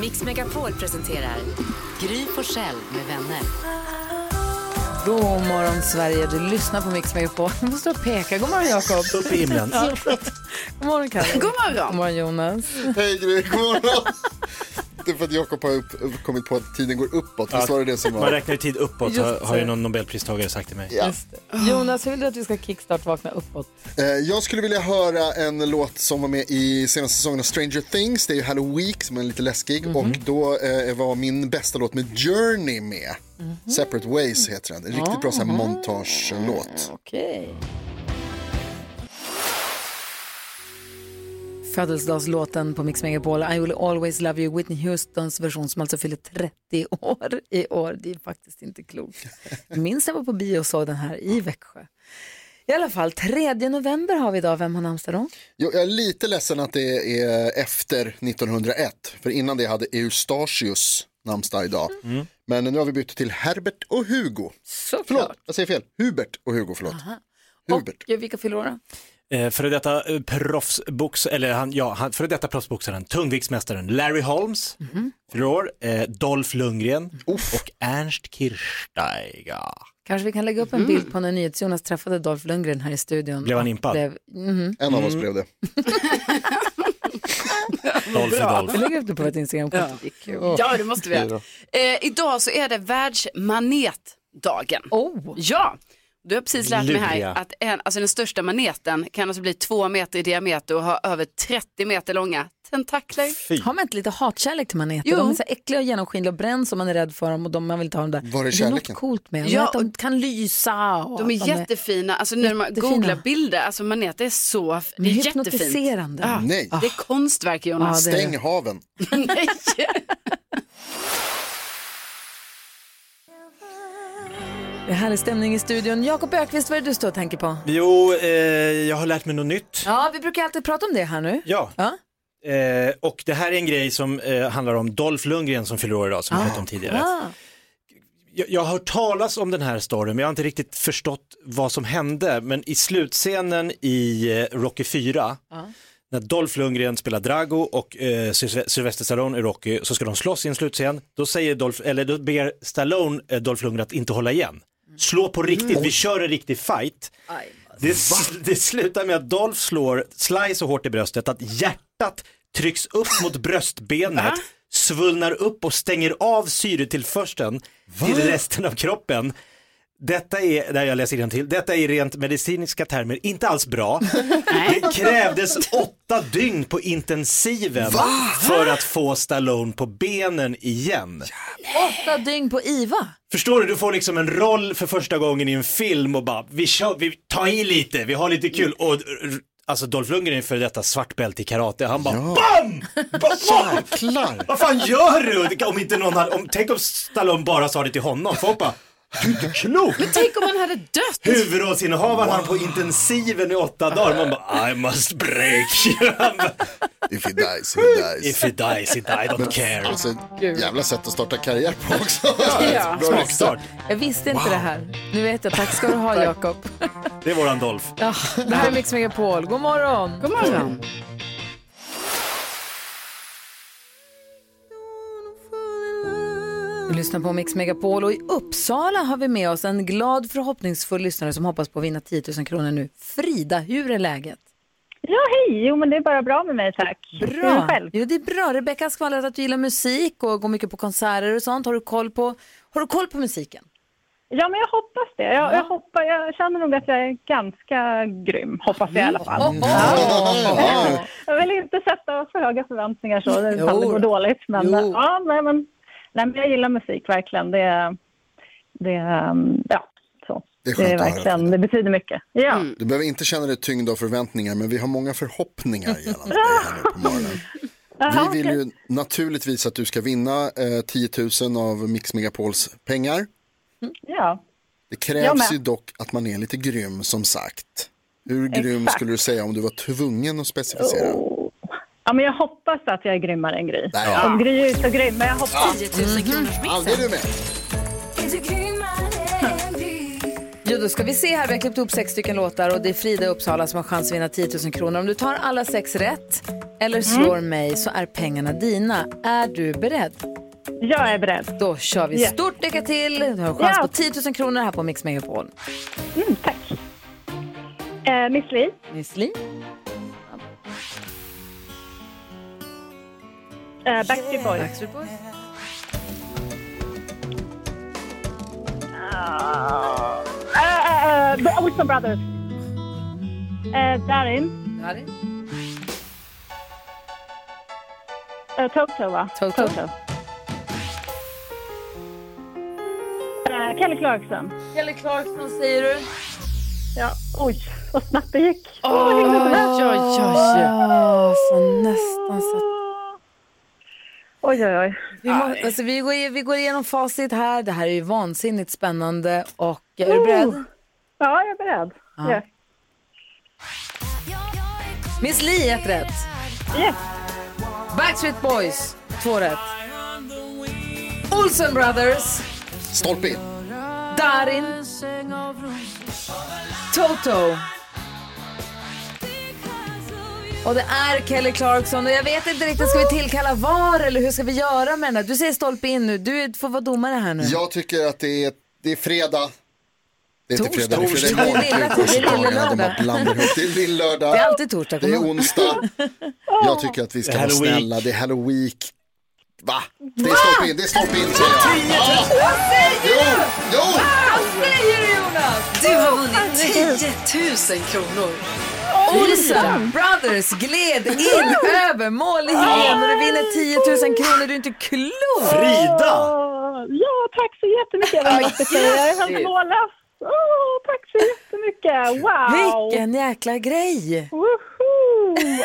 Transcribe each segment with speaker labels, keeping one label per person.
Speaker 1: Mix Megapol presenterar Gry Forssell med vänner.
Speaker 2: God morgon Sverige, du lyssnar på Mix Megapol. Du måste peka. God morgon Jakob.
Speaker 3: Upp i himlen.
Speaker 2: Ja. God morgon Kalle. God morgon. God morgon Jonas.
Speaker 4: Hej Gry, god morgon. Det är för att Jakob har upp, kommit på att tiden går uppåt. Visst var det det som
Speaker 3: Man
Speaker 4: var?
Speaker 3: räknar ju tid uppåt, har,
Speaker 2: Just
Speaker 3: har ju
Speaker 2: det.
Speaker 3: någon nobelpristagare sagt till mig.
Speaker 4: Ja.
Speaker 2: Jonas, hur vill du att vi ska kickstart-vakna uppåt?
Speaker 4: Eh, Jag skulle vilja höra en låt som var med i senaste säsongen av Stranger Things. Det är ju Halloween som är lite läskig. Och då eh, var min bästa låt med Journey med. Separate Ways heter den. En Riktigt bra så här montagelåt.
Speaker 2: Okej. Födelsedagslåten på Mix Megapol, I will always love you, Whitney Houstons version som alltså fyller 30 år i år. Det är faktiskt inte klokt. Jag minns jag var på bio och såg den här i Växjö. I alla fall, 3 november har vi idag. Vem har namnsdag då?
Speaker 4: Jo, Jag är lite ledsen att det är efter 1901. För innan det hade Eustachius namnsdag idag. Men nu har vi bytt till Herbert och Hugo. Förlåt, jag säger fel. Hubert och Hugo, förlåt. Hubert.
Speaker 2: Och vilka fyller år då?
Speaker 3: Eh, före detta eh, proffsbox, eller han, ja, han, före detta proffsboxaren, tungviktsmästaren Larry Holmes,
Speaker 2: Mhm.
Speaker 3: fyller år, eh, Dolph Lundgren och Ernst Kirchsteiger.
Speaker 2: Kanske vi kan lägga upp en bild på när NyhetsJonas träffade Dolph Lundgren här i studion.
Speaker 3: Blev han
Speaker 2: Och
Speaker 3: impad?
Speaker 2: Blev... Mhm.
Speaker 4: En av oss blev det.
Speaker 3: Dolph
Speaker 2: Vi
Speaker 3: är Dolph.
Speaker 2: lägger upp det på vårt Instagramkonto. Det är kul.
Speaker 5: Ja, det måste vi göra. Eh, idag så är det världsmanetdagen.
Speaker 2: Oh.
Speaker 5: Ja, du har precis lärt mig
Speaker 3: Luriga.
Speaker 5: här att en, alltså den största maneten kan alltså bli två meter i diameter och ha över 30 meter långa tentakler.
Speaker 3: Fy.
Speaker 2: Har man inte lite hatkärlek till maneter?
Speaker 5: Jo.
Speaker 2: De är så här äckliga och genomskinliga och bränns om man är rädd för dem och de man vill ta dem där.
Speaker 4: Var är
Speaker 2: det är något
Speaker 4: kärleken?
Speaker 2: coolt med dem.
Speaker 5: Ja,
Speaker 2: att de kan lysa och
Speaker 5: De
Speaker 2: att
Speaker 5: är jättefina, alltså när man
Speaker 2: Jättefina.
Speaker 5: googlar bilder, alltså maneter är så, f-
Speaker 2: de
Speaker 5: det
Speaker 2: är
Speaker 5: är jättefint.
Speaker 2: hypnotiserande.
Speaker 5: Ja,
Speaker 4: Nej.
Speaker 5: Det är konstverk Jonas.
Speaker 2: Ja, det är det.
Speaker 4: Stäng haven.
Speaker 5: Nej.
Speaker 2: Det är härlig stämning i studion. Jakob Ökvist, vad är det du står och tänker på?
Speaker 3: Jo, eh, jag har lärt mig något nytt.
Speaker 2: Ja, vi brukar alltid prata om det här nu.
Speaker 3: Ja,
Speaker 2: Ja.
Speaker 3: eh, och det här är en grej som eh, handlar om Dolph Lundgren som fyller år idag, som vi pratade om tidigare.
Speaker 2: Ah.
Speaker 3: jag, jag har hört talas om den här storyn men jag har inte riktigt förstått vad som hände. Men i slutscenen i eh, Rocky 4,
Speaker 2: Ah.
Speaker 3: när Dolph Lundgren spelar Drago och eh, Sylve- Sylvester Stallone är Rocky, så ska de slåss i en slutscen. Då, säger Dolph, eller då ber Stallone eh, Dolph Lundgren att inte hålla igen.
Speaker 2: Mm.
Speaker 3: Slå på riktigt, vi kör en riktig fight. Det, sl- det slutar med att Dolph slår Sly så hårt i bröstet att hjärtat trycks upp mot bröstbenet, svullnar upp och stänger av syretillförseln till resten av kroppen. Detta är, där jag läser igen till, detta är i rent medicinska termer inte alls bra. Det krävdes åtta dygn på intensiven för att få Stallone på benen igen.
Speaker 2: Åtta dygn på IVA.
Speaker 3: Förstår du, du får liksom en roll för första gången i en film och bara, vi kör, vi tar i lite, vi har lite kul. Och, r- r- alltså Dolph Lundgren är för detta svart bälte i karate, han bara BAM! Ba- wow!
Speaker 4: Jäklar.
Speaker 3: Vad fan gör du? Om inte någon hade, om, tänk om Stallone bara sa det till honom, folk bara, du är inte klok!
Speaker 5: Tänk om man hade dött.
Speaker 3: Huvudrollsinnehavaren han på intensiven i åtta dagar, man bara I must break you. Han bara,
Speaker 4: If he dies, he dies.
Speaker 3: If he dies, he dies, I don't care.
Speaker 4: Alltså, jävla sätt att starta karriär på också.
Speaker 5: Ja.
Speaker 4: Bra rykte.
Speaker 3: Start.
Speaker 2: Jag visste inte det här. Nu vet jag. Tack ska du ha, Jakob.
Speaker 3: Det är våran Dolph.
Speaker 2: Ja, Ah, det här är Mix Megapol. God morgon!
Speaker 5: God morgon.
Speaker 2: Vi lyssnar på Mix Megapol och i Uppsala har vi med oss en glad förhoppningsfull lyssnare som hoppas på att vinna 10 000 kronor nu. Frida, hur är läget?
Speaker 6: Ja, hej! Jo, men det är bara bra med mig, tack. Hur är det själv?
Speaker 2: Jo, det är bra. Rebecka har skvallrat att du gillar musik och går mycket på konserter och sånt. Har du koll på, har du koll på musiken?
Speaker 6: Ja, men jag hoppas det. Jag, jag, hoppas, jag känner nog att jag är ganska grym, hoppas
Speaker 5: Mm.
Speaker 6: jag i alla fall. Jag vill inte sätta för höga förväntningar så, det kan det
Speaker 2: Jo.
Speaker 6: gå dåligt. Men,
Speaker 2: Jo.
Speaker 6: ja, nej, men, nej, men jag gillar musik verkligen. Det, det, um, ja, så.
Speaker 4: Det är skönt att höra.
Speaker 6: verkligen, det betyder mycket. Ja.
Speaker 4: Du behöver inte känna dig tyngd av förväntningar, men vi har många förhoppningar gällande dig här nu på morgonen.
Speaker 6: Jaha,
Speaker 4: Vi vill
Speaker 6: okej.
Speaker 4: ju naturligtvis att du ska vinna eh, 10 000 av Mix Megapols pengar.
Speaker 6: Ja.
Speaker 4: Det
Speaker 6: Jag
Speaker 4: krävs
Speaker 6: med.
Speaker 4: ju dock att man är lite grym som sagt. Hur grym
Speaker 6: Exakt. Oh.
Speaker 4: skulle du säga om du var tvungen att specificera?
Speaker 6: ja, men jag hoppas att jag är grymmare än Gry.
Speaker 4: Nej.
Speaker 6: Om Gry är så grym, men jag hoppas.
Speaker 1: 10 000 kronors
Speaker 4: Ja, det är du med.
Speaker 2: Jo, då ska vi se här. Vi har klippt upp sex stycken låtar och det är Frida i Uppsala som har chans att vinna 10 000 kronor. Om du tar alla sex rätt eller
Speaker 6: Mm.
Speaker 2: slår mig så är pengarna dina. Är du beredd?
Speaker 6: Jag är beredd.
Speaker 2: Då kör vi.
Speaker 6: Ja.
Speaker 2: Stort lycka till! Du har chans
Speaker 6: Ja.
Speaker 2: på 10 000 kronor här på Mix Megapol.
Speaker 6: Mm, tack. Eh, Miss Li,
Speaker 2: Miss Li,
Speaker 6: eh, Backstreet Boys.
Speaker 2: Backstreet Boys.
Speaker 6: Eh, eh, eh, Wilson Brothers. Eh, Darin.
Speaker 2: Darin.
Speaker 6: Eh, Toto, va?
Speaker 2: Toto.
Speaker 6: Eh, Kelly Clarkson.
Speaker 2: Kelly Clarkson säger du.
Speaker 6: Ja, oj, vad snabbt det gick. Åh, oh,
Speaker 5: Oj, oj, oj.
Speaker 2: så nästan så att...
Speaker 6: oj, oj, oj.
Speaker 2: vi, må, alltså, vi, går, i- vi går igenom facit här. Det här är ju vansinnigt spännande. Och är du beredd?
Speaker 6: Ja, jag är beredd.
Speaker 2: Ja.
Speaker 6: Yes.
Speaker 2: Miss Li, ett rätt.
Speaker 6: Yes.
Speaker 2: Backstreet Boys, två rätt. Olsen Brothers,
Speaker 4: Stolpe in.
Speaker 2: Darin, Toto. Och det är Kelly Clarkson och jag vet inte riktigt, ska vi tillkalla VAR eller hur ska vi göra med den här? Du säger stolpe in nu, du får vara domare här nu.
Speaker 4: Jag tycker att det är, det är fredag. Det är inte fredag, det är fredag
Speaker 2: Torsdag.
Speaker 4: imorgon.
Speaker 2: Det är lilla-
Speaker 4: Det är
Speaker 2: det är lilla
Speaker 4: lördag. De
Speaker 2: lördag.
Speaker 4: bara blandar ihop. Det är lill-lördag.
Speaker 2: Det är alltid torsdag,
Speaker 4: Det är
Speaker 2: kom ihåg.
Speaker 4: onsdag. Jag tycker att vi ska vara
Speaker 3: Halloween.
Speaker 4: snälla. Det är halloween. Va? Det är stolpe in, det är stolpe in säger jag. Ja. Jo, jo!
Speaker 1: Du har vunnit 10 000 kronor.
Speaker 2: Olsen Brothers gled in över mål i helgen och du vinner 10 000 kronor, du är inte klok!
Speaker 3: Frida!
Speaker 6: Åh, ja, tack så jättemycket. Jag var måste säga. Jag är helt mållös. Åh, tack så jättemycket. Wow!
Speaker 2: Vilken jäkla grej!
Speaker 6: Woho!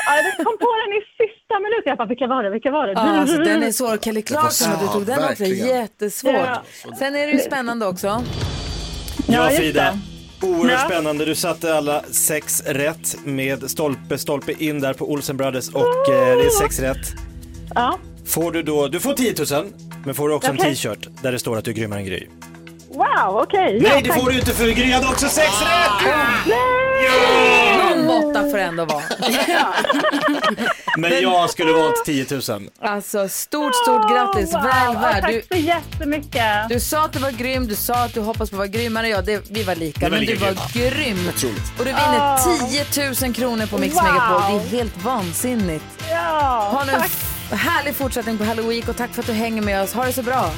Speaker 6: Ja, jag kom på den i sista minuten. Jag bara, vilka var det? Vilka var det?
Speaker 2: Ja, Alltså, den är svår. Kelly Clarkson,
Speaker 4: Det var
Speaker 2: du tog den också.
Speaker 4: verkligen.
Speaker 2: Jättesvårt.
Speaker 6: Ja.
Speaker 2: Sen är det ju spännande också.
Speaker 3: Ja,
Speaker 6: just
Speaker 3: Frida. Oerhört
Speaker 6: Ja.
Speaker 3: spännande. Du satte alla sex rätt med stolpe, stolpe in där på Olsen Brothers och eh, det är sex rätt.
Speaker 6: Ja.
Speaker 3: Får du då, du får 10 000 men får du också en
Speaker 6: Okej.
Speaker 3: t-shirt där det står att du är grymmare än Gry.
Speaker 6: Wow, okej. Ja,
Speaker 3: Nej det
Speaker 6: tack.
Speaker 3: får du inte för Gry hade också sex rätt!
Speaker 2: Någon måtta får det ändå vara.
Speaker 3: Men jag skulle valt 10 000.
Speaker 2: Alltså, stort, stort grattis.
Speaker 6: Wow,
Speaker 2: Väl
Speaker 6: ja,
Speaker 2: värd.
Speaker 6: Tack
Speaker 2: Du,
Speaker 6: så jättemycket.
Speaker 2: du sa att du var grym, du sa att du hoppas på att vara grymmare än jag. Det, vi var lika,
Speaker 3: var
Speaker 2: men
Speaker 3: lika
Speaker 2: du var grym. Och du vinner 10 000 kronor på Mix
Speaker 6: Wow.
Speaker 2: Megapol. Det är helt vansinnigt.
Speaker 6: Ja,
Speaker 2: Ha nu en
Speaker 6: tack.
Speaker 2: f- härlig fortsättning på Halloween och tack för att du hänger med oss. Ha det så bra.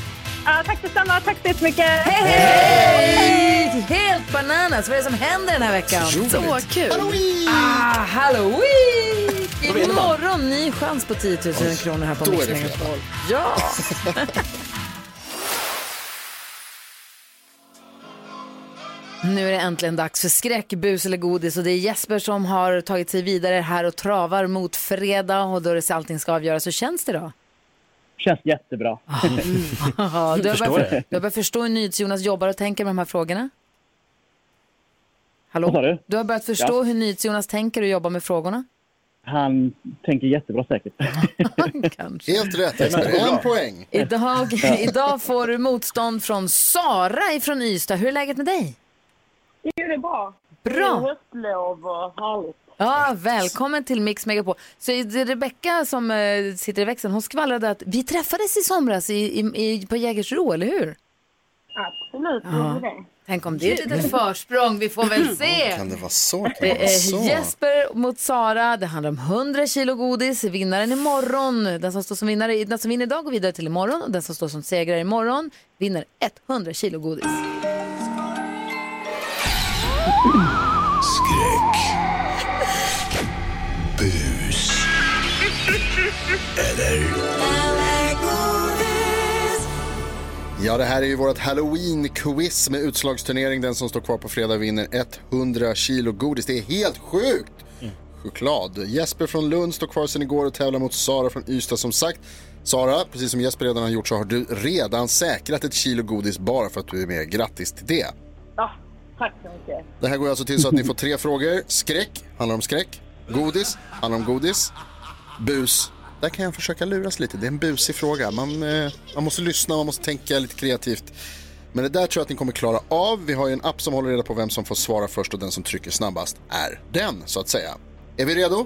Speaker 6: Ja, tack detsamma. Tack så jättemycket.
Speaker 2: Hej, hej! Helt bananas. Vad är det som händer den här veckan?
Speaker 1: Så kul.
Speaker 2: Ah, Halloween! Imorgon ny chans på 10 000 kronor här på
Speaker 4: då är
Speaker 2: Mix
Speaker 4: det
Speaker 2: Megapol. Ja! Nu är det äntligen dags för skräck, bus eller godis och det är Jesper som har tagit sig vidare här och travar mot fredag och då är det så allting ska avgöras. Hur känns det då?
Speaker 7: Känns jättebra.
Speaker 2: Ja, du, har
Speaker 3: Förstår
Speaker 2: börjat,
Speaker 3: det.
Speaker 2: du har börjat förstå hur NyhetsJonas jobbar och tänker med de här frågorna? Hallå?
Speaker 7: Vad sa du?
Speaker 2: har börjat förstå hur NyhetsJonas tänker och jobbar med frågorna?
Speaker 7: Han tänker jättebra säkert.
Speaker 2: Kanske.
Speaker 4: Helt rätt Jesper, en poäng.
Speaker 2: Idag, idag får du motstånd från Sara ifrån Ystad. Hur är läget med dig?
Speaker 6: Jo, det är bra.
Speaker 2: Bra!
Speaker 6: Höstlov och härligt.
Speaker 2: Ja, välkommen till Mix Megapol. Så är det Rebecka som eh, sitter i växeln, hon skvallrade att vi träffades i somras i, i, i, på Jägersro, eller hur?
Speaker 6: Absolut, det.
Speaker 2: Tänk om det är ett litet Mm. försprång, vi får väl se.
Speaker 4: Kan det vara så? Kan det
Speaker 2: Det
Speaker 4: vara
Speaker 7: Alltså.
Speaker 2: är
Speaker 4: så?
Speaker 2: Jesper mot Sara. Det handlar om 100 kilo godis. Vinnaren imorgon. Den som, står som vinnare, den som vinner idag går vidare till imorgon. Och den som står som segrare imorgon vinner 100 kilo godis.
Speaker 4: Ja, det här är ju vårt halloween-quiz med utslagsturnering. Den som står kvar på fredag vinner 100 kilo godis. Det är helt sjukt! choklad. Jesper från Lund står kvar sedan igår och tävlar mot Sara från Ystad som sagt. Sara, precis som Jesper redan har gjort så har du redan säkrat ett kilo godis bara för att du är med. Grattis till det.
Speaker 6: Ja, tack så mycket.
Speaker 4: Det här går alltså till så att ni får tre frågor. Skräck, handlar om skräck. Godis, handlar om godis. Bus, där kan jag försöka luras lite. Det är en busig fråga. Man, eh, man måste lyssna, man måste tänka lite kreativt. Men det där tror jag att ni kommer klara av. Vi har ju en app som håller reda på vem som får svara först och den som trycker snabbast är den, så att säga. Är vi redo?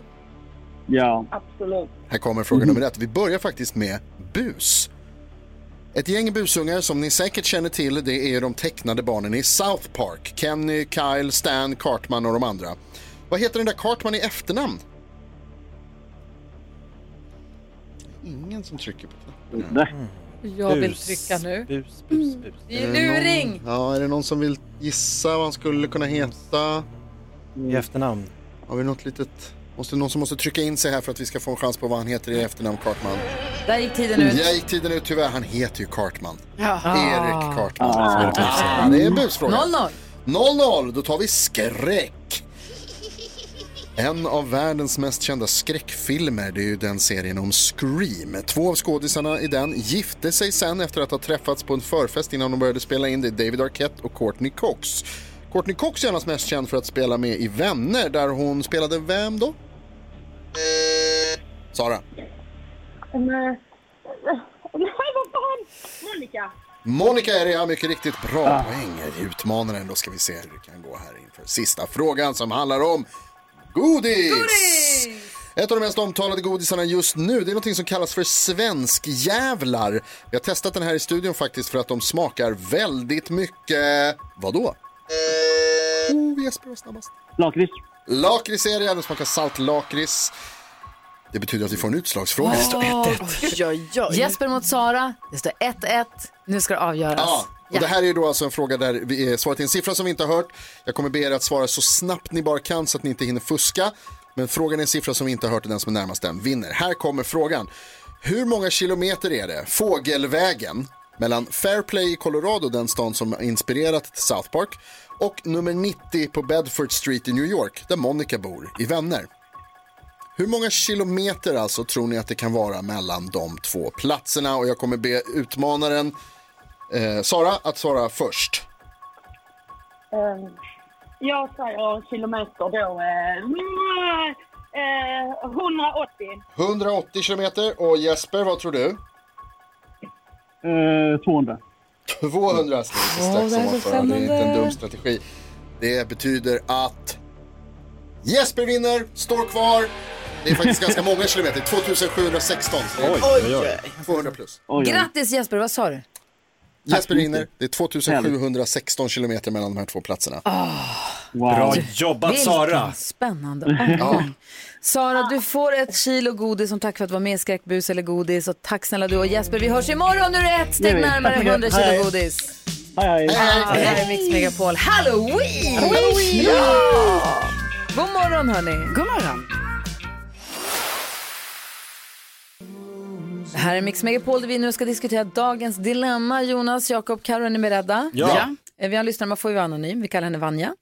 Speaker 7: Ja.
Speaker 6: Absolut.
Speaker 4: Här kommer fråga nummer ett. Vi börjar faktiskt med bus. Ett gäng busungar som ni säkert känner till det är ju de tecknade barnen i South Park. Kenny, Kyle, Stan, Cartman och de andra. Vad heter den där Cartman i efternamn? Ingen som trycker på det.
Speaker 2: Jag vill trycka nu.
Speaker 3: Bus, bus, bus.
Speaker 2: Det är luring!
Speaker 4: Ja, är det någon som vill gissa vad han skulle kunna heta?
Speaker 3: I efternamn.
Speaker 4: Har vi något litet... Måste någon som måste trycka in sig här för att vi ska få en chans på vad han heter i efternamn, Cartman?
Speaker 2: Där gick tiden ut.
Speaker 4: Jag gick tiden ut tyvärr. Han heter ju Cartman.
Speaker 5: Ja.
Speaker 4: Erik Cartman. som är det bästa. Det är en busfråga.
Speaker 2: 0-0.
Speaker 4: 0-0. Då tar vi skräck. En av världens mest kända skräckfilmer det är ju den serien om Scream. Två av skådisarna i den gifte sig sen efter att ha träffats på en förfest innan de började spela in. Det är David Arquette och Courtney Cox. Courtney Cox är annars mest känd för att spela med i Vänner där hon spelade vem då? Sara.
Speaker 6: Men... eh, Nej, vad fan! Monica!
Speaker 4: Monica är det, ja, mycket riktigt. Bra poäng. Det utmanar ändå. ska vi se hur det kan gå här inför sista frågan som handlar om godis. Ett av de mest omtalade godisarna just nu, det är något som kallas för svenskjävlar. Vi har testat den här i studion faktiskt för att de smakar väldigt mycket... Vadå? Oh, Jesper var snabbast.
Speaker 7: Lakrits.
Speaker 4: Lakrits är det, ja, de smakar saltlakrits. Det betyder att vi får en utslagsfråga. Det står 1-1.
Speaker 5: Oj, oj, oj.
Speaker 2: Jesper mot Sara. Det står 1-1. Nu ska det avgöras.
Speaker 4: Ja, och det här är ju då alltså en fråga där vi eh, svaret är en siffra som vi inte har hört. Jag kommer be er att svara så snabbt ni bara kan så att ni inte hinner fuska. Men frågan är en siffra som vi inte har hört och den som är närmast den vinner. Här kommer frågan. Hur många kilometer är det, fågelvägen, mellan Fairplay i Colorado, den stan som har inspirerat till South Park, och nummer 90 på Bedford Street i New York, där Monica bor, i Vänner? Hur många kilometer alltså tror ni att det kan vara mellan de två platserna? Och jag kommer be utmanaren Eh, Sara att svara först.
Speaker 6: Um, jag säger kilometer då. Eh, mm, eh, 180.
Speaker 4: 180 kilometer och Jesper, vad tror du?
Speaker 7: Eh, 200.
Speaker 4: 200 steg till strax som var förra. Mm. Det är inte en dum strategi. Det betyder att Jesper vinner, står kvar. Det är faktiskt ganska många kilometer, 2716. så det är
Speaker 3: Oj, oj, oj.
Speaker 4: 200 plus.
Speaker 7: Oj, oj.
Speaker 2: Grattis Jesper, vad sa du?
Speaker 4: Jesper vinner, det är 2716 kilometer mellan de här två platserna.
Speaker 7: Wow.
Speaker 3: Bra jobbat Sara.
Speaker 2: spännande omgång. Sara, du får ett kilo godis som tack för att du var med i Skräckbus eller godis. Och tack snälla du och Jesper. Vi hörs imorgon. Nu är det ett steg
Speaker 7: Gör vi.
Speaker 2: närmare
Speaker 7: Tack så mycket.
Speaker 2: 100 kilo
Speaker 7: Hej.
Speaker 2: godis.
Speaker 7: Hej, hej.
Speaker 2: Det här är Mix Megapol. Halloween! Halloween! Ja! God morgon hörni.
Speaker 1: God morgon.
Speaker 2: Det här är Mix Megapol där vi nu ska diskutera dagens dilemma. Jonas, Jakob, Karo, är ni beredda?
Speaker 3: Ja.
Speaker 2: Eh, Vi har en lyssnare, man får ju vara anonym. Vi kallar henne Vanja.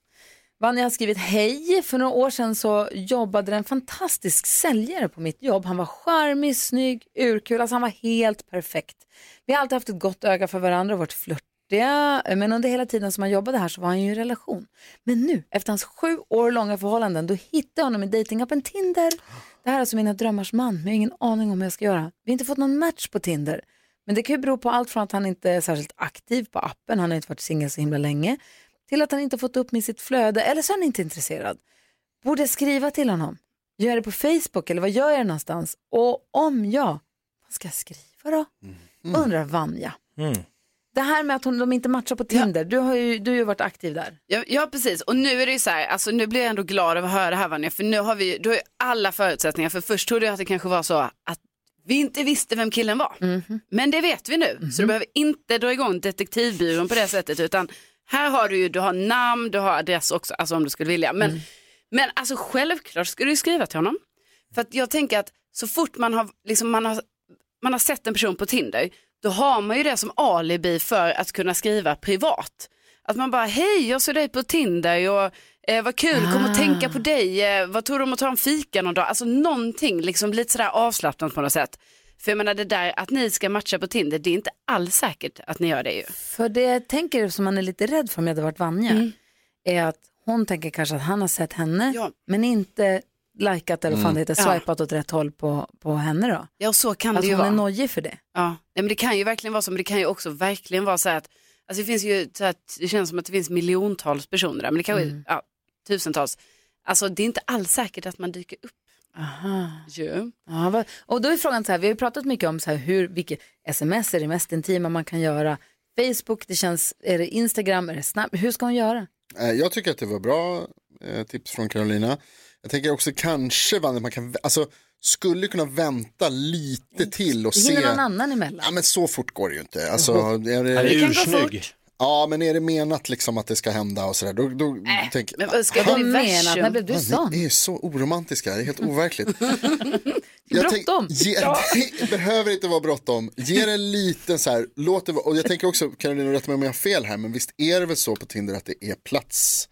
Speaker 2: Vanja har skrivit hej. För några år sedan så jobbade det en fantastisk säljare på mitt jobb. Han var charmig, snygg, urkul. Alltså han var helt perfekt. Vi har alltid haft ett gott öga för varandra och varit flörtiga. Eh, Men under hela tiden som han jobbade här så var han ju i en relation. Men nu, efter hans sju år långa förhållanden, då hittade jag honom i dejtingappen Tinder. Det här är alltså mina drömmars man, men jag har ingen aning om hur jag ska göra. Vi har inte fått någon match på Tinder. Men det kan ju bero på allt från att han inte är särskilt aktiv på appen, han har inte varit singel så himla länge, till att han inte fått upp med sitt flöde, eller så är han inte intresserad. Borde jag skriva till honom? Gör jag det på Facebook eller vad gör jag någonstans? Och om ja, vad ska jag skriva då? Undrar Vanja.
Speaker 3: Mm.
Speaker 2: Det här med att hon, de inte matchar på Tinder, du har ju, du har ju varit aktiv där.
Speaker 5: Ja, ja precis, och nu är det ju så här, alltså nu blir jag ändå glad av att höra det här Vanja, för nu har vi då är alla förutsättningar, för först trodde jag att det kanske var så att vi inte visste vem killen var, men det vet vi nu, så du behöver inte dra igång detektivbyrån på det sättet, utan här har du ju, du har namn, du har adress också, alltså om du skulle vilja, men, men alltså självklart ska du ju skriva till honom, för att jag tänker att så fort man har, liksom man har, man har sett en person på Tinder, då har man ju det som alibi för att kunna skriva privat. Att man bara, hej jag såg dig på Tinder och Eh, vad kul, kom och tänka på dig. Eh, vad tror du om att ta en fika någon dag? Alltså någonting, liksom lite sådär avslappnat på något sätt. För jag menar det där att ni ska matcha på Tinder, det är inte alls säkert att ni gör det ju.
Speaker 2: För det jag tänker som man är lite rädd för om jag hade varit Vanja är att hon tänker kanske att han har sett henne
Speaker 5: Ja.
Speaker 2: men inte likat eller vad fan det heter,
Speaker 5: Ja.
Speaker 2: swipat åt rätt håll på, på henne då.
Speaker 5: Ja, och så kan
Speaker 2: Att
Speaker 5: det ju
Speaker 2: hon är
Speaker 5: vara.
Speaker 2: nojig för det.
Speaker 5: Ja, nej, men det kan ju verkligen vara så, men det kan ju också verkligen vara så här att, alltså det finns ju så här att, det känns som att det finns miljontals personer där, men det kanske,
Speaker 2: Mm.
Speaker 5: är ja, tusentals. Alltså det är inte alls säkert att man dyker upp
Speaker 2: Aha.
Speaker 5: ju.
Speaker 2: Ja, vad- och då är frågan så här, vi har ju pratat mycket om så här hur, vilket sms är det mest intima man kan göra, Facebook, det känns, är det Instagram, är det Snap, hur ska hon göra?
Speaker 4: Eh, Jag tycker att det var bra eh, tips från Carolina. Jag tänker också kanske Vanja, man kan, vä- alltså, skulle kunna vänta
Speaker 5: Mm.
Speaker 4: lite till och
Speaker 2: Hinner
Speaker 4: se.
Speaker 2: någon annan emellan?
Speaker 4: Ja men så fort går det ju inte. Alltså,
Speaker 5: Mm.
Speaker 4: är
Speaker 3: Han är
Speaker 4: det,
Speaker 5: kan gå
Speaker 3: ursnygg.
Speaker 4: ja men är det menat liksom att det ska hända och sådär. Då, då
Speaker 5: Äh,
Speaker 4: tänk,
Speaker 5: men vad ska
Speaker 4: Ah,
Speaker 5: det
Speaker 2: Vad
Speaker 5: bli
Speaker 2: menar du? När blev du
Speaker 4: Ja,
Speaker 2: sån?
Speaker 4: Ni är så oromantiska, det är helt overkligt. tänk-
Speaker 2: Bråttom.
Speaker 4: ge, det behöver inte vara bråttom. Ge det en liten så här, låt det vara, och jag tänker också, Karolina rätta mig om jag har fel här, men visst är det väl så på Tinder att det är plats,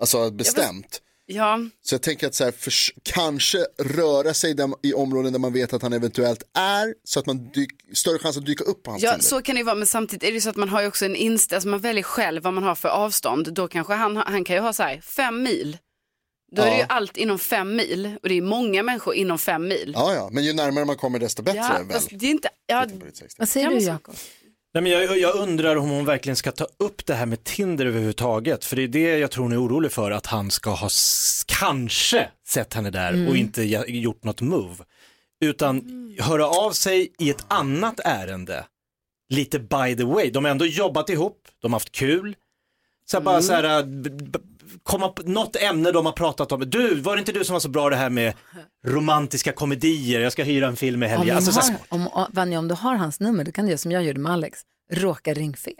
Speaker 4: alltså bestämt.
Speaker 5: Ja,
Speaker 4: Så jag tänker att så här, förs- kanske röra sig där, i områden där man vet att han eventuellt är, så att man dyk, större chans att dyka upp på hans
Speaker 5: ja,
Speaker 4: Tinder.
Speaker 5: så kan det ju vara, men samtidigt är det ju så att man har ju också en insta, alltså man väljer själv vad man har för avstånd. Då kanske han, han kan ju ha så här, fem mil. Då är det ju
Speaker 4: Ja.
Speaker 5: allt inom fem mil och det är många människor inom fem mil.
Speaker 4: Ja, ja, men ju närmare man kommer desto bättre
Speaker 5: Ja,
Speaker 4: väl.
Speaker 5: fast det är inte, ja,
Speaker 2: Vad säger
Speaker 5: Ja, men
Speaker 2: du
Speaker 5: så-
Speaker 2: Jakob?
Speaker 3: Nej, men jag, jag undrar om hon verkligen ska ta upp det här med Tinder överhuvudtaget. För det är det jag tror hon är orolig för, att han ska ha s- kanske sett henne där och inte ge- gjort något move. Utan höra av sig i ett annat ärende. Lite by the way, de har ändå jobbat ihop, de har haft kul. Så här, bara så här, äh, b- b- komma på något ämne de har pratat om. Du, var det inte du som var så bra det här med romantiska komedier, jag ska hyra en film i
Speaker 2: Om,
Speaker 3: helgen.
Speaker 2: de
Speaker 3: Alltså, så här,
Speaker 2: har, om, om, Vanja, om du har hans nummer, då kan du göra som jag gjorde med Alex, råka ring fel.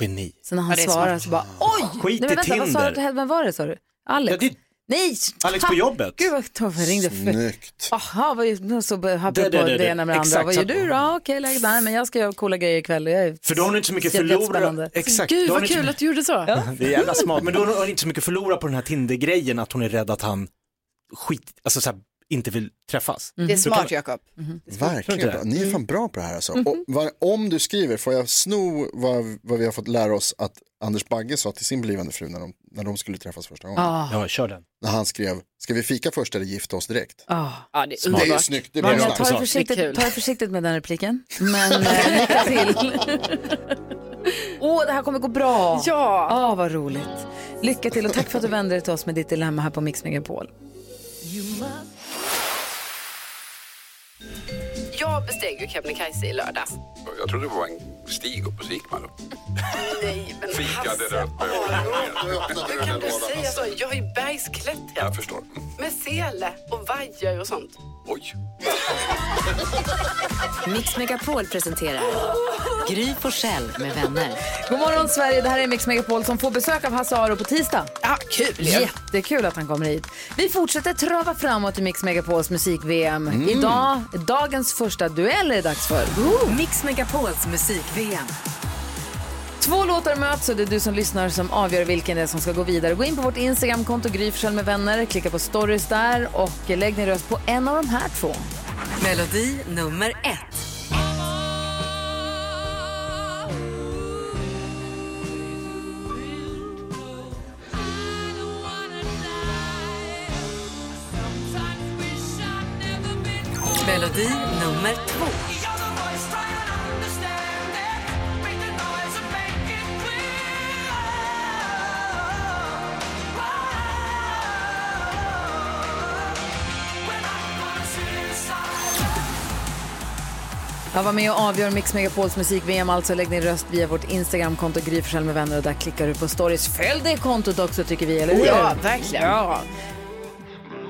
Speaker 3: geni.
Speaker 2: Så när han
Speaker 5: det är
Speaker 2: svarar så bara, oj!
Speaker 3: Skit
Speaker 2: Nej,
Speaker 3: i
Speaker 2: men vänta, vad sa
Speaker 3: Tinder.
Speaker 2: du? Vem var det sa du?
Speaker 3: Ja,
Speaker 2: Alex?
Speaker 3: det är
Speaker 2: Nej! Ah,
Speaker 3: Alex på jobbet.
Speaker 2: Gud vad tufft, jag ringde för...
Speaker 4: Snyggt.
Speaker 2: Jaha, vad gjorde så
Speaker 3: Det,
Speaker 2: happade
Speaker 3: det,
Speaker 2: på
Speaker 3: det,
Speaker 2: det
Speaker 3: det.
Speaker 2: ena med det andra.
Speaker 3: Exakt
Speaker 2: Vad gör
Speaker 3: så. Mm.
Speaker 2: du då? Ah, Okej, lägg där, men jag ska göra coola grejer ikväll. Jag är
Speaker 3: För då har hon inte så mycket
Speaker 2: jättespännande.
Speaker 3: förlora. Exakt.
Speaker 5: Gud
Speaker 3: då
Speaker 5: vad
Speaker 3: har hon inte så
Speaker 5: kul att du gjorde så.
Speaker 3: Det är jävla smart, men då har hon inte så mycket att förlora på den här Tinder-grejen att hon är rädd att han skit, alltså så här, inte vill träffas.
Speaker 5: Det
Speaker 2: Mm.
Speaker 5: är smart
Speaker 3: kan-
Speaker 5: Jakob.
Speaker 4: Verkligen bra. Ni är fan bra på det här alltså.
Speaker 5: Mhm.
Speaker 4: Och vad, om du skriver, får jag sno vad, vad vi har fått lära oss att Anders Bagge sa till sin blivande fru när de, när de skulle träffas första gången?
Speaker 3: Ja, kör den.
Speaker 4: När han skrev, ska vi fika först eller gifta oss direkt?
Speaker 5: Ja, det är
Speaker 4: Det är ju
Speaker 5: underbart.
Speaker 4: snyggt, det blir
Speaker 2: Vanja,
Speaker 4: snack.
Speaker 2: ta det
Speaker 5: Det är kul.
Speaker 2: försiktigt, ta det försiktigt med den repliken. Men eh, lycka till. Åh, det här kommer gå bra.
Speaker 5: Ja.
Speaker 2: Åh, vad roligt. Lycka till och tack för att du vände dig till oss med ditt dilemma här på Mix Megapol.
Speaker 5: Jag besteg ju Kebnekaise i lördags.
Speaker 7: Jag trodde det var en stig upp och så gick man upp.
Speaker 5: Nej, men
Speaker 7: Fikade
Speaker 5: Hasse.
Speaker 7: rött med
Speaker 5: Hur kan du säga så? Jag har ju bergsklätt här
Speaker 7: Jag förstår. Mm.
Speaker 5: med sele och vajer och sånt.
Speaker 7: Oj.
Speaker 1: Mix Megapol presenterar Gry Forssell med vänner.
Speaker 2: God morgon Sverige, det här är Mix Megapol som får besök av Hasse Aro på tisdag.
Speaker 5: Ja, kul ju.
Speaker 2: Jättekul att han kommer hit. Vi fortsätter trava framåt i Mix Megapols musik-VM. Idag, dagens första duell är det dags för.
Speaker 1: Mix Megapols musik-VM.
Speaker 2: Två låtar möts och det är du som lyssnar som avgör vilken det är som ska gå vidare. Gå in på vårt Instagramkonto Gry Forssell med vänner, klicka på stories där och lägg din röst på en av de här två.
Speaker 1: Melodi nummer ett. Melodi nummer två.
Speaker 2: Jag var med och avgör Mix Megapols musik-VM, alltså lägg din röst via vårt Instagramkonto Gry Forssell med vänner och där klickar du på stories. Följ det kontot också tycker vi,
Speaker 6: Oh
Speaker 2: eller hur?
Speaker 5: Ja, verkligen. Ja.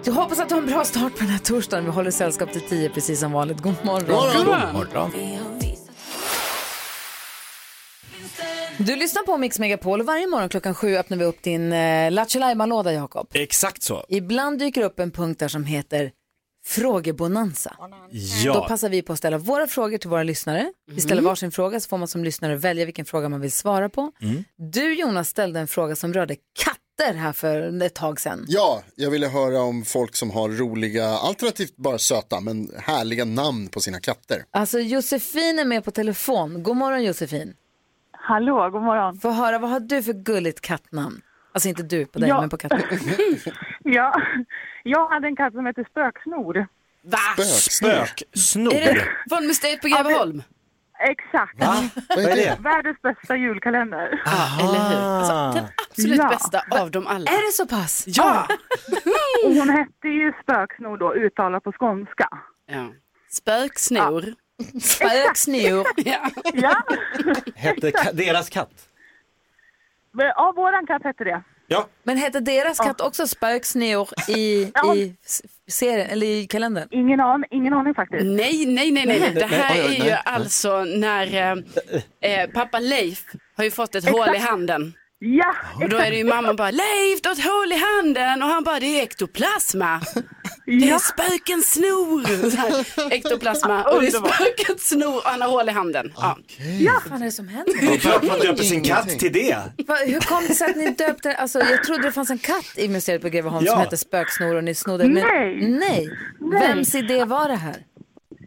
Speaker 2: Jag hoppas att du har en bra start på den här torsdagen. Vi håller sällskap till tio precis som vanligt. God morgon. Du lyssnar på Mix Megapol och varje morgon klockan sju öppnar vi upp din eh, Lattjo Lajban-låda, Jakob.
Speaker 3: Exakt så.
Speaker 2: Ibland dyker upp en punkt där som heter frågebonanza. Då
Speaker 3: Ja,
Speaker 2: passar vi på att ställa våra frågor till våra lyssnare. Vi ställer varsin fråga Mm. så får man som lyssnare välja vilken fråga man vill svara på. Du Jonas ställde en fråga som rörde katter. Petter här för ett tag sedan.
Speaker 4: Ja, jag ville höra om folk som har roliga, alternativt bara söta, men härliga namn på sina katter.
Speaker 2: Alltså Josefin är med på telefon. God morgon Josefin.
Speaker 6: Hallå, god morgon.
Speaker 2: Få höra, vad har du för gulligt kattnamn? Alltså inte du på dig,
Speaker 6: Ja.
Speaker 2: men på katten.
Speaker 6: Ja, jag hade en katt som hette Spöksnor.
Speaker 5: Va?
Speaker 4: Spöksnö.
Speaker 3: Spöksnor.
Speaker 5: Von Mustaine på Greveholm?
Speaker 6: Exakt.
Speaker 3: Va? Vad är det?
Speaker 6: Världens bästa julkalender.
Speaker 5: Eller hur? Alltså,
Speaker 3: Ah.
Speaker 5: den absolut
Speaker 6: Ja.
Speaker 5: bästa av dem alla.
Speaker 2: Är det så pass?
Speaker 5: Ja!
Speaker 6: Och hon hette ju Spöksnor då, uttalat på skånska.
Speaker 5: ja. Spöksnor.
Speaker 2: Spöksnor.
Speaker 5: Ja.
Speaker 6: Ja,
Speaker 3: Hette ka- deras katt?
Speaker 6: men- ja våran katt hette det.
Speaker 3: Ja.
Speaker 2: Men hette deras katt också spöksnor i, i s- serien, eller i kalendern?
Speaker 6: Ingen, an, ingen aning faktiskt.
Speaker 5: Nej, nej, nej, nej. Det här
Speaker 3: Nej, oj, oj,
Speaker 5: är ju
Speaker 3: nej.
Speaker 5: alltså när eh, eh, pappa Leif har ju fått ett hål i handen.
Speaker 6: Ja,
Speaker 5: Och då är det ju mamman bara, Leif du har ett hål i handen och han bara, det är ektoplasma. Det är
Speaker 6: ja.
Speaker 5: spökens snor. Så här, Ektoplasma och det är
Speaker 6: Underbart.
Speaker 5: spökens snor och han har hål i handen. Ja.
Speaker 2: Vad fan är det som händer?
Speaker 3: Det är klart man döper sin katt
Speaker 4: Ingenting.
Speaker 3: till det.
Speaker 2: Va, hur kom det sig att ni döpte alltså, Jag trodde det fanns en katt i museet på Greveholm som
Speaker 3: Ja.
Speaker 2: hette Spöksnor och ni snodde. Men,
Speaker 6: Nej.
Speaker 2: nej. Vems idé var det här?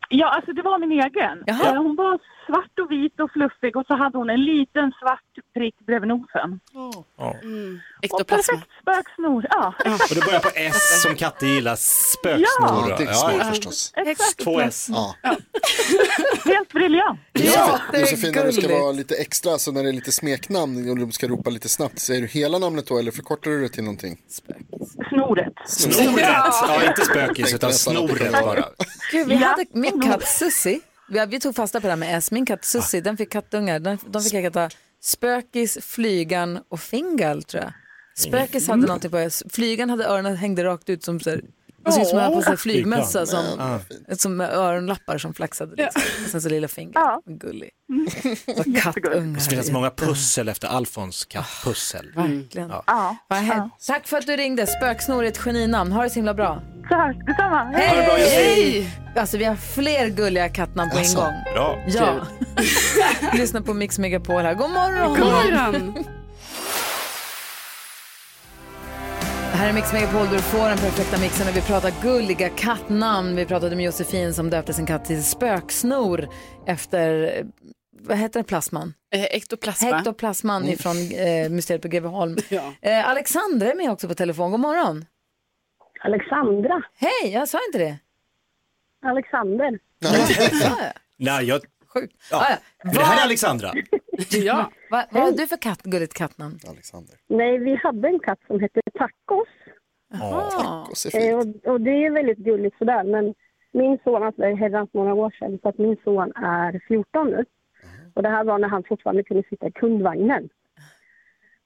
Speaker 6: ja, alltså det var min egen.
Speaker 2: Jaha.
Speaker 6: Eh, Hon var svart och vit och fluffig och så hade hon en liten svart prick bredvid nosen.
Speaker 5: Oh. Mm. Ektoplasma.
Speaker 6: Perfekt spöksnor. Ja,
Speaker 3: Och det börjar på S som katter gillar, spöksnor.
Speaker 4: Ja,
Speaker 3: då.
Speaker 4: det är
Speaker 3: Ja,
Speaker 4: snor
Speaker 3: ja.
Speaker 4: förstås.
Speaker 6: exakt.
Speaker 3: Två S.
Speaker 4: Ja.
Speaker 6: Helt briljant.
Speaker 2: Ja, det är
Speaker 4: Josefin, när du ska
Speaker 2: gulligt.
Speaker 4: vara lite extra, så när det är lite smeknamn och du ska ropa lite snabbt, säger du hela namnet då eller förkortar du det till någonting?
Speaker 6: Snoret.
Speaker 3: Snoret. Ja, inte spökis utan snoret bara.
Speaker 2: Gud, vi
Speaker 6: Ja.
Speaker 2: hade min katt Sussi. Vi, vi tog fasta på det här med S. Min katt Sussi, den fick kattungar. Den, de fick heta Spökis, Flygan och Fingal, tror jag. Spökis
Speaker 6: Mm.
Speaker 2: hade någonting på S. Flygan hade öronen hängde rakt ut som så här, det såg ut som att på sig flygmössa som, som med öronlappar som flaxade. Liksom. Och sen så lilla fingret.
Speaker 6: Ja. Mm.
Speaker 2: Gullig. Så kattungar.
Speaker 3: Det finns många pussel efter Alfons kattpussel.
Speaker 2: Verkligen.
Speaker 6: Ja.
Speaker 2: Vad har hänt? Tack för att du ringde. Spöksnor är ett geninamn. Ha det så himla bra.
Speaker 6: Tack detsamma.
Speaker 2: Hej!
Speaker 5: Hej!
Speaker 2: Alltså vi har fler gulliga kattnamn på en
Speaker 4: Alltså,
Speaker 2: gång.
Speaker 3: Bra.
Speaker 2: Ja. Lyssna på Mix Megapol här. God
Speaker 5: God
Speaker 2: morgon!
Speaker 5: morgon.
Speaker 2: Här är Mix Megapol där du får den perfekta mixen när vi pratar gulliga kattnamn. Vi pratade med Josefin som döpte sin katt till Spöksnor efter, eh, vad heter den, plasman?
Speaker 5: Eh, Ektoplasma. Mm.
Speaker 2: Hektoplasman ifrån eh, Mysteriet på Greveholm.
Speaker 5: Ja.
Speaker 2: Eh, Alexandra är med också på telefon. God morgon!
Speaker 6: Alexandra.
Speaker 2: Hej, jag sa inte det.
Speaker 6: Alexander.
Speaker 2: Sa jag?
Speaker 3: Nej, jag...
Speaker 2: Sjukt.
Speaker 3: Ja.
Speaker 2: Ah, ja.
Speaker 3: Men Det här är Alexandra.
Speaker 5: Ja.
Speaker 2: Va, vad har du för katt, gulligt kattnamn?
Speaker 4: Alexander.
Speaker 6: Nej, vi hade en katt som hette Tacos.
Speaker 2: Ah.
Speaker 4: Och så är det
Speaker 6: Eh,
Speaker 4: fint.
Speaker 6: Och, och det är väldigt gulligt sådär. Men min son, alltså det är herrans många år sedan, så att min son är 14 nu. Och det här var när han fortfarande kunde sitta i kundvagnen.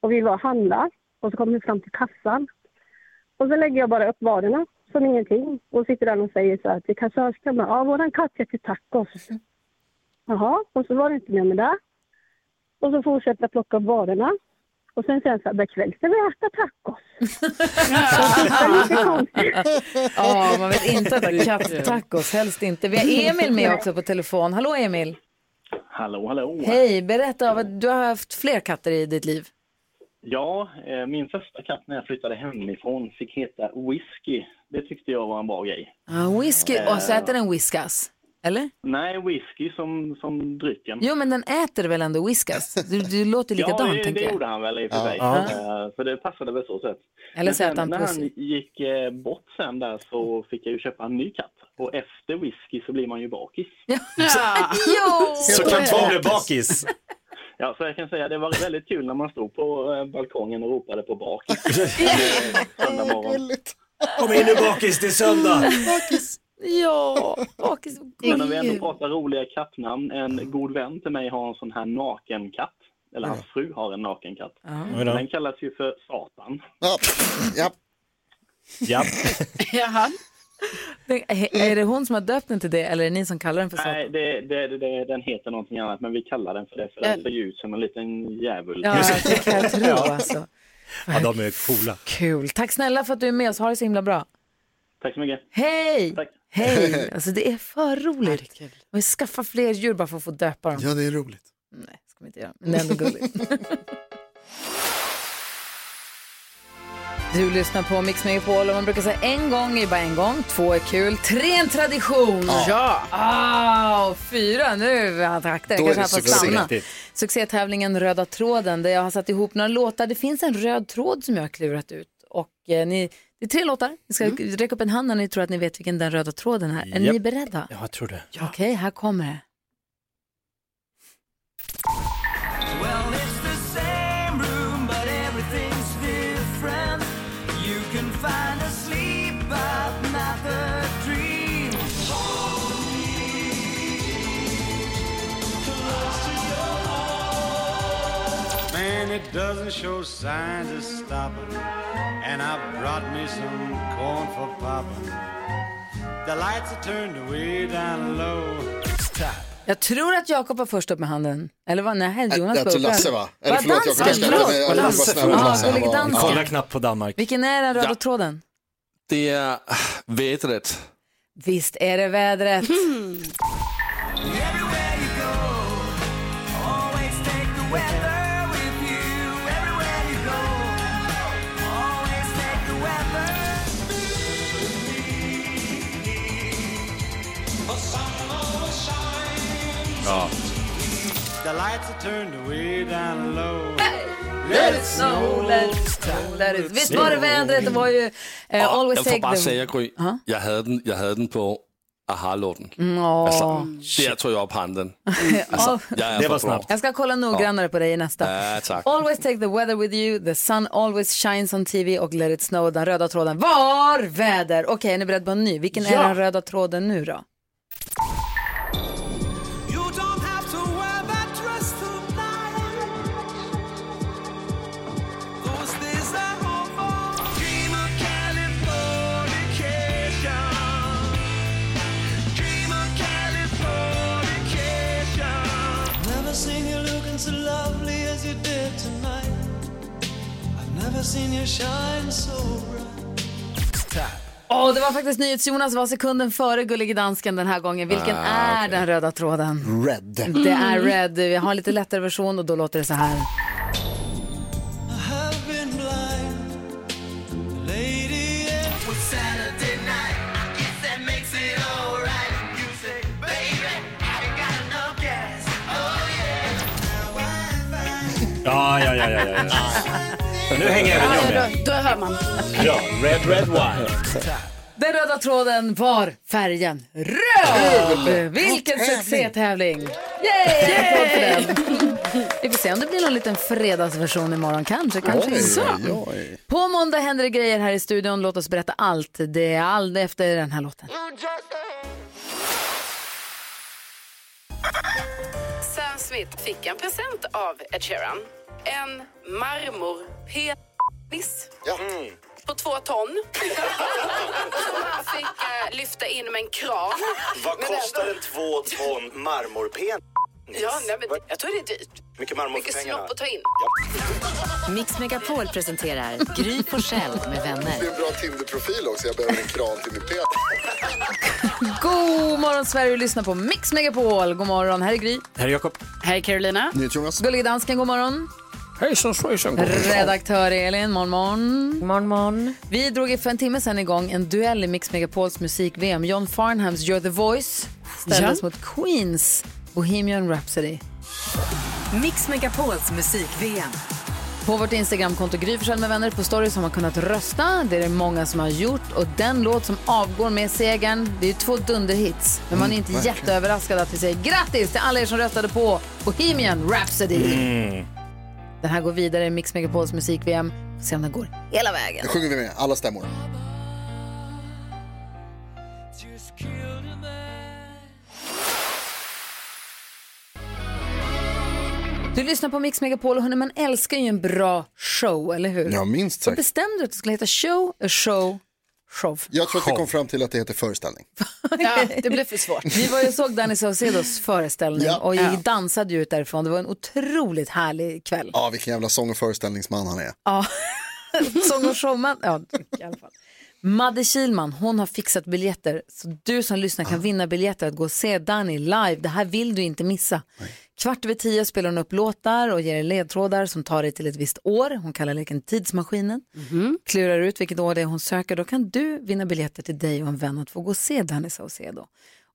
Speaker 6: Och vi var och handla och så kom vi fram till kassan. Och så lägger jag bara upp varorna som ingenting. Och sitter där och säger så här till kassörskan, bara, ja våran katt heter Tacos. Jaha, och så var det inte mer med det. Och så fortsätter jag plocka upp varorna. Och sen säger han så här, ikväll ska vi äta tacos.
Speaker 2: Ja, man vill inte äta katt-tacos, helst inte. Vi har Emil med också på telefon. Hallå Emil!
Speaker 8: Hallå, hallå.
Speaker 2: Hej, berätta, vad- du har haft fler katter i ditt liv.
Speaker 8: Ja, eh, min första katt när jag flyttade hemifrån fick heta Whisky. Det tyckte jag var en bra grej.
Speaker 2: Ah, whisky, och så äter den whiskas? Eller?
Speaker 8: Nej, whisky som, som drycken.
Speaker 2: Jo, men den äter väl ändå whiskas? Du, du låter likadan,
Speaker 8: ja, det,
Speaker 2: tänker
Speaker 8: det
Speaker 2: jag.
Speaker 8: gjorde han väl i och för sig. Eh, För det passade väl så sett.
Speaker 2: Eller
Speaker 8: Men
Speaker 2: så äter
Speaker 8: sen
Speaker 2: han
Speaker 8: när
Speaker 2: pussy.
Speaker 8: han gick eh, bort sen där så fick jag ju köpa en ny katt. Och efter whisky så blir man ju bakis.
Speaker 5: Ja.
Speaker 2: Jo!
Speaker 3: Så kan två bli bakis.
Speaker 8: Ja, så jag kan säga det var väldigt kul när man stod på eh, balkongen och ropade på bakis. Eh, söndag morgon.
Speaker 3: Kom in nu bakis, det är söndag.
Speaker 2: Ja, bakis.
Speaker 8: Men om vi ändå pratar roliga kattnamn. En god vän till mig har en sån här nakenkatt. Eller hans fru har en nakenkatt.
Speaker 3: Oj då.
Speaker 8: Den kallas ju för Satan.
Speaker 4: Ja, ja.
Speaker 3: Ja.
Speaker 5: Jaha.
Speaker 2: Tänk, he- Är det hon som har döpt den till det eller är det ni som kallar den för
Speaker 8: Nej,
Speaker 2: satan?
Speaker 8: det, det, det- det, den heter någonting annat, men vi kallar den för det för den ser ju ut som en liten djävul.
Speaker 2: Ja, det kan jag tro alltså.
Speaker 3: ja, de är coola.
Speaker 2: Kul. Tack snälla för att du är med oss. Ha det så himla bra.
Speaker 8: Tack så mycket.
Speaker 2: Hej!
Speaker 8: Tack.
Speaker 2: Hej! Alltså det är för roligt. Vi skaffar fler djur bara för att få döpa dem.
Speaker 4: ja, det är roligt.
Speaker 2: Nej, ska vi inte göra. Men det är ändå gulligt. Du lyssnar på Mix Megapol och man brukar säga en gång är bara en gång, två är kul, tre är en tradition.
Speaker 5: Ja.
Speaker 2: Ah, och fyra, nu attackar
Speaker 5: Då
Speaker 2: kanske
Speaker 5: är
Speaker 2: han
Speaker 5: det
Speaker 2: får
Speaker 5: succé.
Speaker 2: stanna.
Speaker 5: Riktigt.
Speaker 2: Succétävlingen Röda tråden där jag har satt ihop några låtar. Det finns en röd tråd som jag har klurat ut och eh, ni, det är tre låtar. Ni ska räcka upp en hand när ni tror att ni vet vilken den röda tråden är. Är ni
Speaker 3: Japp.
Speaker 2: beredda?
Speaker 3: Ja, jag tror det.
Speaker 2: Okej, här kommer det.
Speaker 9: Well, it's the same room, but everything's different. You can find a sleep, but not the dream.
Speaker 10: Man, it doesn't show signs of stopping. And I brought me some corn for popping. The lights are turned way down low.
Speaker 2: Jag tror att Jakob var först upp med handen. Eller vad? Nej,
Speaker 4: Ä-
Speaker 2: Jonas
Speaker 4: jag tror
Speaker 2: var uppe.
Speaker 4: Lasse, va? Eller
Speaker 2: Va,
Speaker 4: förlåt, Jakob,
Speaker 2: dansken?
Speaker 4: jag ska-
Speaker 2: Förlåt,
Speaker 4: jag- jag- jag- jag-
Speaker 2: Lasse.
Speaker 4: jag- jag- jag- jag- jag- jag- jag-
Speaker 2: Ja,
Speaker 4: jag-
Speaker 2: gullig dansken.
Speaker 11: Kolla knappt på Danmark.
Speaker 2: Vilken är den röda
Speaker 11: Ja.
Speaker 2: tråden?
Speaker 11: Det är vädret.
Speaker 2: Visst är det vädret.
Speaker 9: Always take the weather with you everywhere you go. Always take the weather.
Speaker 10: Ja. The lights are turned way down low.
Speaker 2: Let it snow, let it snow, let it... Visst var det vädret? Det var ju eh, Always
Speaker 11: Jag får
Speaker 2: take
Speaker 11: bara
Speaker 2: the...
Speaker 11: säga Gry, jag hade den, jag hade den på Aha-låten.
Speaker 2: Nå.
Speaker 11: Alltså, där tog jag upp handen. Alltså, jag är
Speaker 3: Det
Speaker 11: för
Speaker 3: var
Speaker 11: bra.
Speaker 3: snabbt.
Speaker 2: Jag ska kolla noggrannare på dig i nästa.
Speaker 11: Ja, tack.
Speaker 2: Always take the weather with you, the sun always shines on TV och let it snow. Den röda tråden var väder. Okej, är ni beredda på en ny? Vilken är
Speaker 9: Ja.
Speaker 2: den röda tråden nu då?
Speaker 9: You don't have to wear that dress tonight. Those days are over. Dream of Californication. Dream of Californication. Never seen you looking so lovely as you did tonight. I've never seen you shine so bright.
Speaker 2: Åh, det var faktiskt NyhetsJonas var sekunden före Gullige Dansken den här gången. Vilken
Speaker 9: Ah,
Speaker 2: är den röda tråden?
Speaker 4: Red.
Speaker 2: Det är Red. Vi har en lite lättare version och då låter det så
Speaker 9: I've
Speaker 2: här.
Speaker 9: been blind, lady. Yeah. Well, Saturday night, I guess that makes it alright. You say, baby, I ain't got enough gas. Oh
Speaker 3: Ja, ja, ja, ja, ja. ja. Nu hänger även jag med.
Speaker 5: då, då hör man.
Speaker 3: Ja, red, red wine.
Speaker 2: Den röda tråden var färgen
Speaker 9: Kul!
Speaker 2: röd. Vilken
Speaker 9: Bra tävling.
Speaker 2: succétävling! Yay! En applåd för den. Vi får se om det blir någon liten fredagsversion imorgon. Kanske, kanske
Speaker 4: Oj,
Speaker 2: inte.
Speaker 4: oj, oj.
Speaker 2: På måndag händer det grejer här i studion. Låt oss berätta allt. Det är allt efter den här låten.
Speaker 5: Sam Smith fick en present av Ed Sheeran. En marmorpenis på två ton. Som han fick eh, lyfta in med en kran.
Speaker 3: Vad
Speaker 5: Men
Speaker 3: kostar
Speaker 5: ändå-
Speaker 3: en två ton marmorpenis?
Speaker 5: Ja, nej, men jag tror det är dyrt.
Speaker 3: Mycket marmor
Speaker 5: Mycket
Speaker 3: för pengarna.
Speaker 5: snopp att ta in.
Speaker 1: Mix Megapol presenterar Gry Forssell med
Speaker 4: Det är
Speaker 1: vänner.
Speaker 4: en bra Tinder-profil också. Jag behöver en kran till min pet.
Speaker 2: God morgon Sverige, du lyssnar på Mix Megapol. God morgon, här är Gry.
Speaker 3: Här är Jakob.
Speaker 2: Hej Carolina. Gullige dansken, god morgon.
Speaker 11: Hejsan svejsan.
Speaker 2: Redaktör Elin, morgon morgon. morgon morgon. Vi drog i för en timme sedan igång en duell i Mix Megapols musik-VM. John Farnhams You're the Voice ställdes
Speaker 1: Ja.
Speaker 2: mot Queens Bohemian Rhapsody.
Speaker 1: Mix Megapols musik-VM.
Speaker 2: På vårt Instagramkonto Gry Forssell med vänner på stories har man kunnat rösta. Det är det många som har gjort. Och den låt som avgår med segern, det är ju två dunderhits. Men man är inte
Speaker 9: Mm, verkligen.
Speaker 2: jätteöverraskad att vi säger grattis till alla er som röstade på Bohemian Rhapsody. Den här går vidare i Mix Megapols musik-VM. Får Se om den går hela vägen.
Speaker 4: Nu sjunger vi med alla stämmor.
Speaker 2: Du lyssnar på Mix Megapol och hörni, man älskar ju en bra show, eller hur?
Speaker 4: Ja, minst
Speaker 2: Så
Speaker 4: sagt.
Speaker 2: bestämde du att det skulle heta show, a show, show.
Speaker 4: Jag tror att vi kom fram till att det heter föreställning.
Speaker 5: Ja, det blir för svårt.
Speaker 2: Vi var ju och såg Danny Saucedos föreställning
Speaker 4: Ja.
Speaker 2: och
Speaker 4: Ja.
Speaker 2: vi dansade ju ut därifrån. Det var en otroligt härlig kväll.
Speaker 4: Ja, vilken jävla sång och föreställningsman han är.
Speaker 2: Ja, sång och showman. Ja, i alla fall. Madde Kilman, hon har fixat biljetter. Så du som lyssnar kan vinna biljetter att gå och se Danny live. Det här vill du inte missa. Kvart över tio spelar hon upp låtar och ger er ledtrådar som tar dig till ett visst år. Hon kallar leken Tidsmaskinen. Klurar ut vilket år det är hon söker, då kan du vinna biljetter till dig och en vän att få gå och se Danny Saucedo.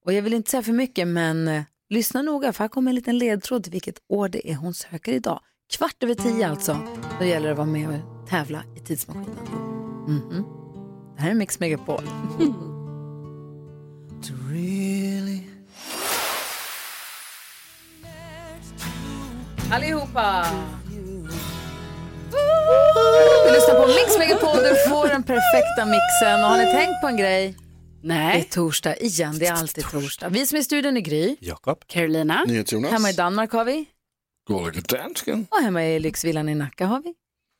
Speaker 2: Och jag vill inte säga för mycket, men eh, lyssna noga för här kommer en liten ledtråd till vilket år det är hon söker idag. Kvart över tio alltså, då gäller det att vara med och tävla i Tidsmaskinen. Mhm. Det här är Mix Megapol. Allihopa! Du lyssnar på Mix Megapol, du får den perfekta mixen. Och har ni tänkt på en grej? Nej. Det är torsdag igen, det är alltid torsdag. Vi som är i studion är Gry.
Speaker 3: Jakob.
Speaker 2: Carolina.
Speaker 4: NyhetsJonas.
Speaker 2: Hemma i Danmark har vi.
Speaker 11: Gullige dansken.
Speaker 2: Och hemma i lyxvillan i Nacka har vi.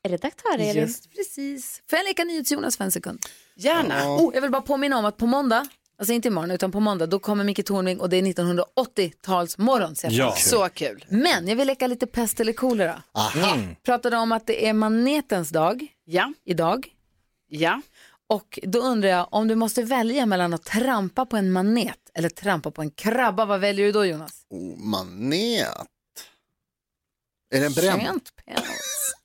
Speaker 12: Redaktör Elin.
Speaker 2: Just precis. Får jag leka NyhetsJonas för en sekund?
Speaker 5: Gärna.
Speaker 2: Oh, jag vill bara påminna om att på måndag, alltså inte imorgon utan på måndag, då kommer Micke Tornving och det är 1980-talsmorgon. ser jag
Speaker 5: Ja.
Speaker 2: fram emot.
Speaker 5: Så kul.
Speaker 2: Men jag vill leka lite pest eller kolera. Mm.
Speaker 5: Aha.
Speaker 2: Pratade om att det är manetens dag
Speaker 5: ja.
Speaker 2: idag.
Speaker 5: Ja.
Speaker 2: Och då undrar jag om du måste välja mellan att trampa på en manet eller trampa på en krabba. Vad väljer du då Jonas?
Speaker 4: Manet. Är den bränd?
Speaker 2: Skönt päls.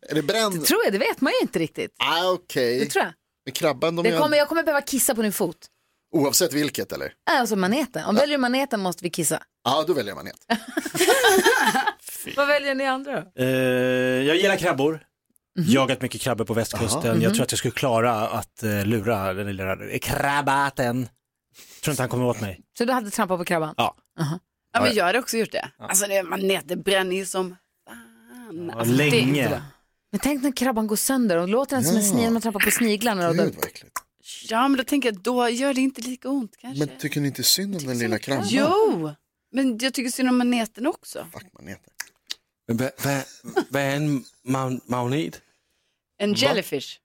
Speaker 4: Är det bränd?
Speaker 2: Det tror jag, det vet man ju inte riktigt.
Speaker 4: Ah, Okej.
Speaker 2: Det tror jag.
Speaker 4: Men krabban, de
Speaker 2: Det
Speaker 4: gör-
Speaker 2: kommer, jag kommer behöva kissa på din fot.
Speaker 4: Oavsett vilket eller?
Speaker 2: Äh, Alltså maneten. Om väljer du maneten måste vi kissa.
Speaker 4: Ja, då väljer jag manet.
Speaker 2: Vad väljer ni andra då?
Speaker 3: Eh, jag gillar krabbor.
Speaker 5: Mhm.
Speaker 3: Jagat mycket krabbor på västkusten.
Speaker 2: Jaha.
Speaker 3: Jag tror att jag skulle klara att eh, lura den lilla eh, krabbaten. Tror inte han kommer åt mig.
Speaker 2: Så du hade trampat på krabban?
Speaker 3: Ja.
Speaker 5: Ja, men jag hade också gjort det. Alltså det, manet, det bränner ju som fan.
Speaker 3: Ja,
Speaker 5: Alltså, det är inte
Speaker 3: länge.
Speaker 5: bra.
Speaker 2: Men tänk när krabban går sönder och låter den som en
Speaker 5: Ja.
Speaker 2: snigel man trampar på sniglarna. Och då...
Speaker 5: Ja, men då tänker jag, då gör det inte lika ont kanske.
Speaker 4: Men tycker ni inte synd om den lilla krabban?
Speaker 5: Jo, men jag tycker synd om maneten också.
Speaker 11: Men vad, vad, vad är en ma- magnet?
Speaker 5: En
Speaker 11: Va?
Speaker 5: jellyfish.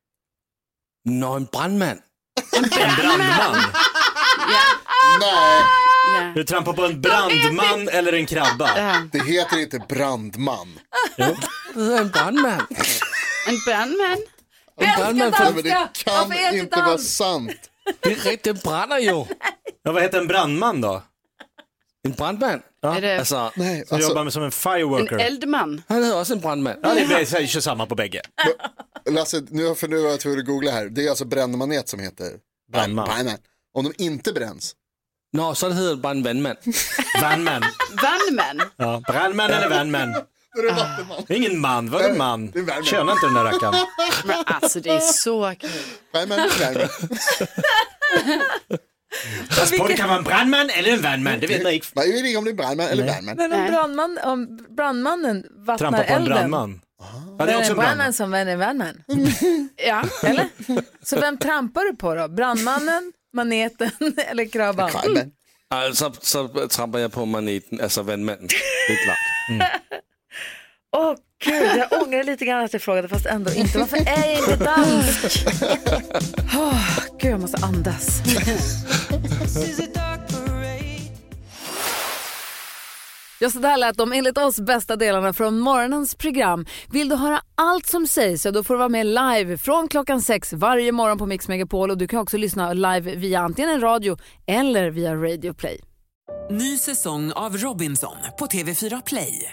Speaker 11: Nå, en brandman.
Speaker 4: Nej.
Speaker 3: Du trampar på en brandman eller en krabba.
Speaker 4: Det heter inte brandman.
Speaker 11: En brandman.
Speaker 5: En brandman.
Speaker 4: Nej, men det kan inte vara sant.
Speaker 11: Det är rätt, den bränner ju.
Speaker 3: Ja, vad heter en brandman då?
Speaker 11: En brandman?
Speaker 3: Ja.
Speaker 5: Är det-
Speaker 11: Alltså,
Speaker 4: Nej,
Speaker 3: Som jobbar med som en fireworker.
Speaker 5: En eldman.
Speaker 11: Han är också en brandman.
Speaker 3: Ja, det blir kör samma på bägge.
Speaker 4: Lasse, nu, för nu har jag tvungen att googla här. Det är alltså brännmanet som heter
Speaker 3: Brandman.
Speaker 4: brandman. Om de inte bränns.
Speaker 11: Nå, så det heter det bara en vanman.
Speaker 3: Vanman.
Speaker 5: Vanman.
Speaker 3: Ja, brandman eller vanman. Det är ingen man, vad är en man? Köna inte den där rackaren.
Speaker 5: Men alltså det är så kul.
Speaker 4: Brandman, brandman.
Speaker 3: Fast på det kan vara en brandman eller en vanman, det vet man inte.
Speaker 4: Man vet inte om det är brandman eller vanman.
Speaker 2: Men om, brandman, om brandmannen vattnar
Speaker 3: Trampa på en
Speaker 2: elden.
Speaker 3: brandman. Ja, det
Speaker 2: det
Speaker 3: är också
Speaker 2: en
Speaker 3: en brandman.
Speaker 2: brandman som vän är vännen.
Speaker 5: ja.
Speaker 2: Eller? Så vem trampar du på då? Brandmannen, maneten eller Mm. krabban?
Speaker 11: Alltså, så trampar jag på maneten, alltså vanmannen. Det är klart.
Speaker 2: Åh gud, jag ångrar lite grann att jag frågade fast ändå inte. Varför är jag inte dansk? Åh, gud, jag måste andas. Ja, så där lät de enligt oss bästa delarna från morgonens program. Vill du höra allt som sägs så då får du vara med live från klockan sex varje morgon på Mix Megapol och du kan också lyssna live via antingen en radio eller via Radio Play.
Speaker 13: Ny säsong av Robinson på TV4 Play.